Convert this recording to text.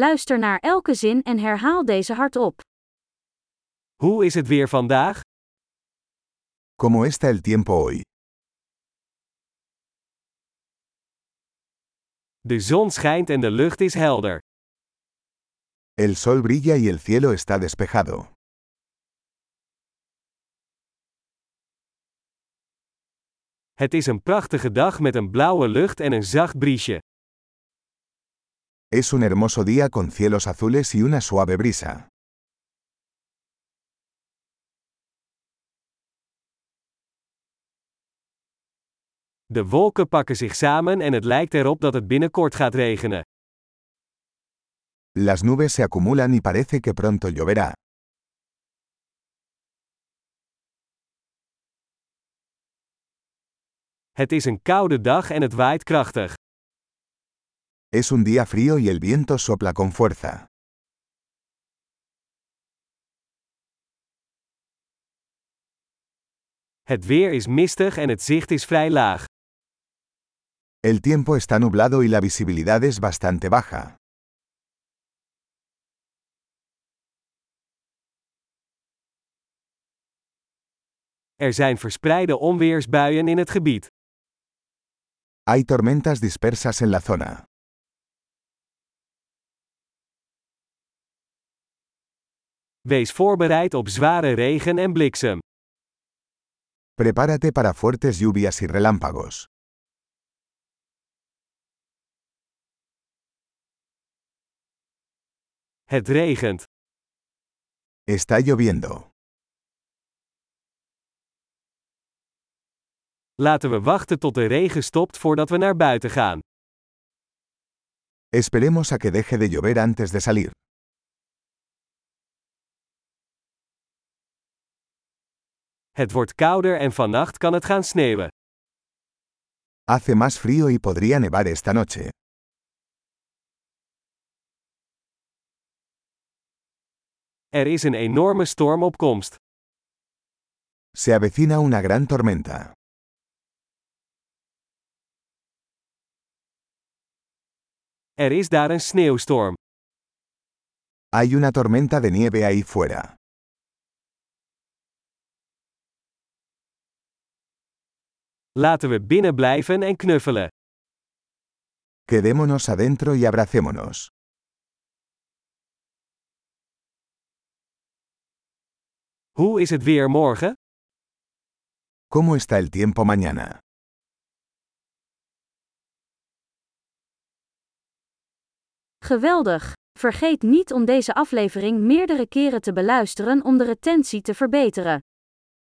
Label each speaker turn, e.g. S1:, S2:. S1: Luister naar elke zin en herhaal deze hardop.
S2: Hoe is het weer vandaag?
S3: ¿Cómo está el tiempo hoy?
S2: De zon schijnt en de lucht is helder.
S3: El sol brilla y el cielo está despejado.
S2: Het is een prachtige dag met een blauwe lucht en een zacht briesje.
S3: Es un hermoso día con cielos azules y una suave brisa.
S2: De wolken pakken zich samen en het lijkt erop dat het binnenkort gaat regenen.
S3: Las nubes se acumulan y parece que pronto lloverá.
S2: Het is een koude dag en het waait krachtig.
S3: Es un día frío y el viento sopla con fuerza.
S2: Het weer is mistig en het zicht is vrij laag.
S3: El tiempo está nublado y la visibilidad es bastante baja.
S2: Er zijn verspreide onweersbuien in het gebied.
S3: Hay tormentas dispersas en la zona.
S2: Wees voorbereid op zware regen en bliksem.
S3: Prepárate para fuertes lluvias y relámpagos.
S2: Het regent.
S3: Está lloviendo.
S2: Laten we wachten tot de regen stopt voordat we naar buiten gaan.
S3: Esperemos a que deje de llover antes de salir.
S2: Het wordt kouder en vannacht kan het gaan sneeuwen.
S3: Hace más frío y podría nevar esta noche.
S2: Er is een enorme storm op komst.
S3: Se avecina una gran tormenta.
S2: Er is daar een sneeuwstorm.
S3: Hay una tormenta de nieve ahí fuera.
S2: Laten we binnen blijven en knuffelen.
S3: Quedémonos adentro y abracémonos.
S2: Hoe is het weer morgen?
S3: ¿Cómo está el tiempo mañana?
S1: Geweldig! Vergeet niet om deze aflevering meerdere keren te beluisteren om de retentie te verbeteren.